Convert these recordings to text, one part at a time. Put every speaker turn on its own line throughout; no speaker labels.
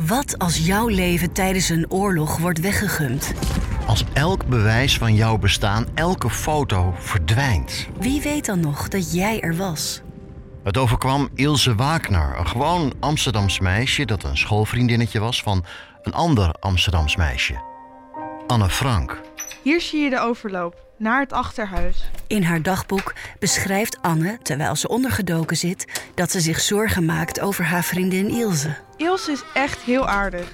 Wat als jouw leven tijdens een oorlog wordt weggegumd?
Als elk bewijs van jouw bestaan, elke foto verdwijnt.
Wie weet dan nog dat jij er was?
Het overkwam Ilse Wagner, een gewoon Amsterdams meisje dat een schoolvriendinnetje was van een ander Amsterdams meisje. Anne Frank.
Hier zie je de overloop naar het achterhuis.
In haar dagboek beschrijft Anne, terwijl ze ondergedoken zit, dat ze zich zorgen maakt over haar vriendin Ilse.
Ilse is echt heel aardig.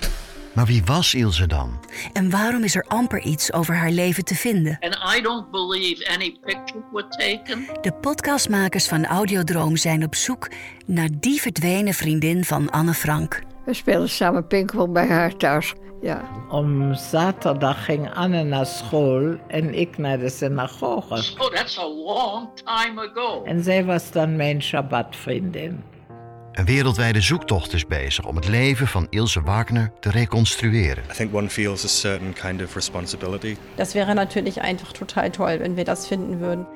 Maar wie was Ilse dan?
En waarom is er amper iets over haar leven te vinden?
And I don't believe any pictures were taken.
De podcastmakers van Audiodroom zijn op zoek naar die verdwenen vriendin van Anne Frank.
We spelen samen pinkwel bij haar thuis. Ja.
Om zaterdag ging Anne naar school en ik naar de synagoge.
Oh, that's a long time ago.
En zij was dan mijn Shabbatvriendin.
Een wereldwijde zoektocht is bezig om het leven van Ilse Wagner te reconstrueren.
I think one feels a certain kind of responsibility.
Das wäre natürlich einfach total toll, wenn wir das finden würden.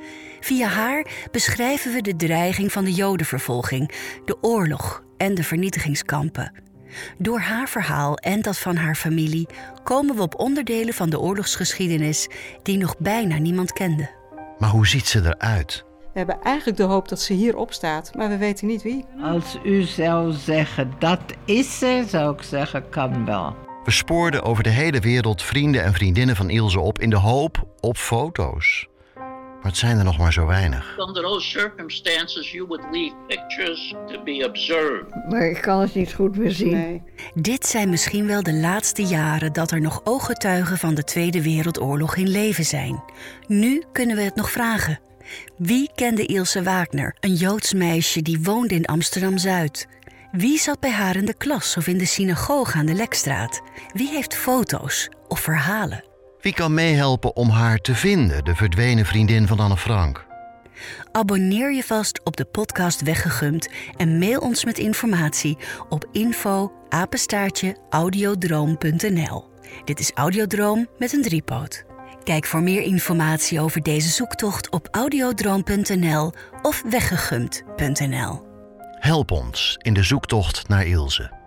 Via haar beschrijven we de dreiging van de Jodenvervolging, de oorlog en de vernietigingskampen. Door haar verhaal en dat van haar familie komen we op onderdelen van de oorlogsgeschiedenis die nog bijna niemand kende.
Maar hoe ziet ze eruit?
We hebben eigenlijk de hoop dat ze hierop staat, maar we weten niet wie.
Als u zou zeggen dat is ze, zou ik zeggen kan wel.
We spoorden over de hele wereld vrienden en vriendinnen van Ilse op in de hoop op foto's. Maar het zijn er nog maar zo weinig.
Under those circumstances, you would leave pictures to be observed.
Maar ik kan het niet goed meer zien.
Nee.
Dit zijn misschien wel de laatste jaren dat er nog ooggetuigen van de Tweede Wereldoorlog in leven zijn. Nu kunnen we het nog vragen. Wie kende Ilse Wagner, een Joods meisje die woonde in Amsterdam Zuid? Wie zat bij haar in de klas of in de synagoge aan de Lekstraat? Wie heeft foto's of verhalen?
Wie kan meehelpen om haar te vinden, de verdwenen vriendin van Anne Frank?
Abonneer je vast op de podcast Weggegumd en mail ons met informatie op info audiodroom.nl. Dit is Audiodroom met een driepoot. Kijk voor meer informatie over deze zoektocht op audiodroom.nl of weggegumd.nl.
Help ons in de zoektocht naar Ilse.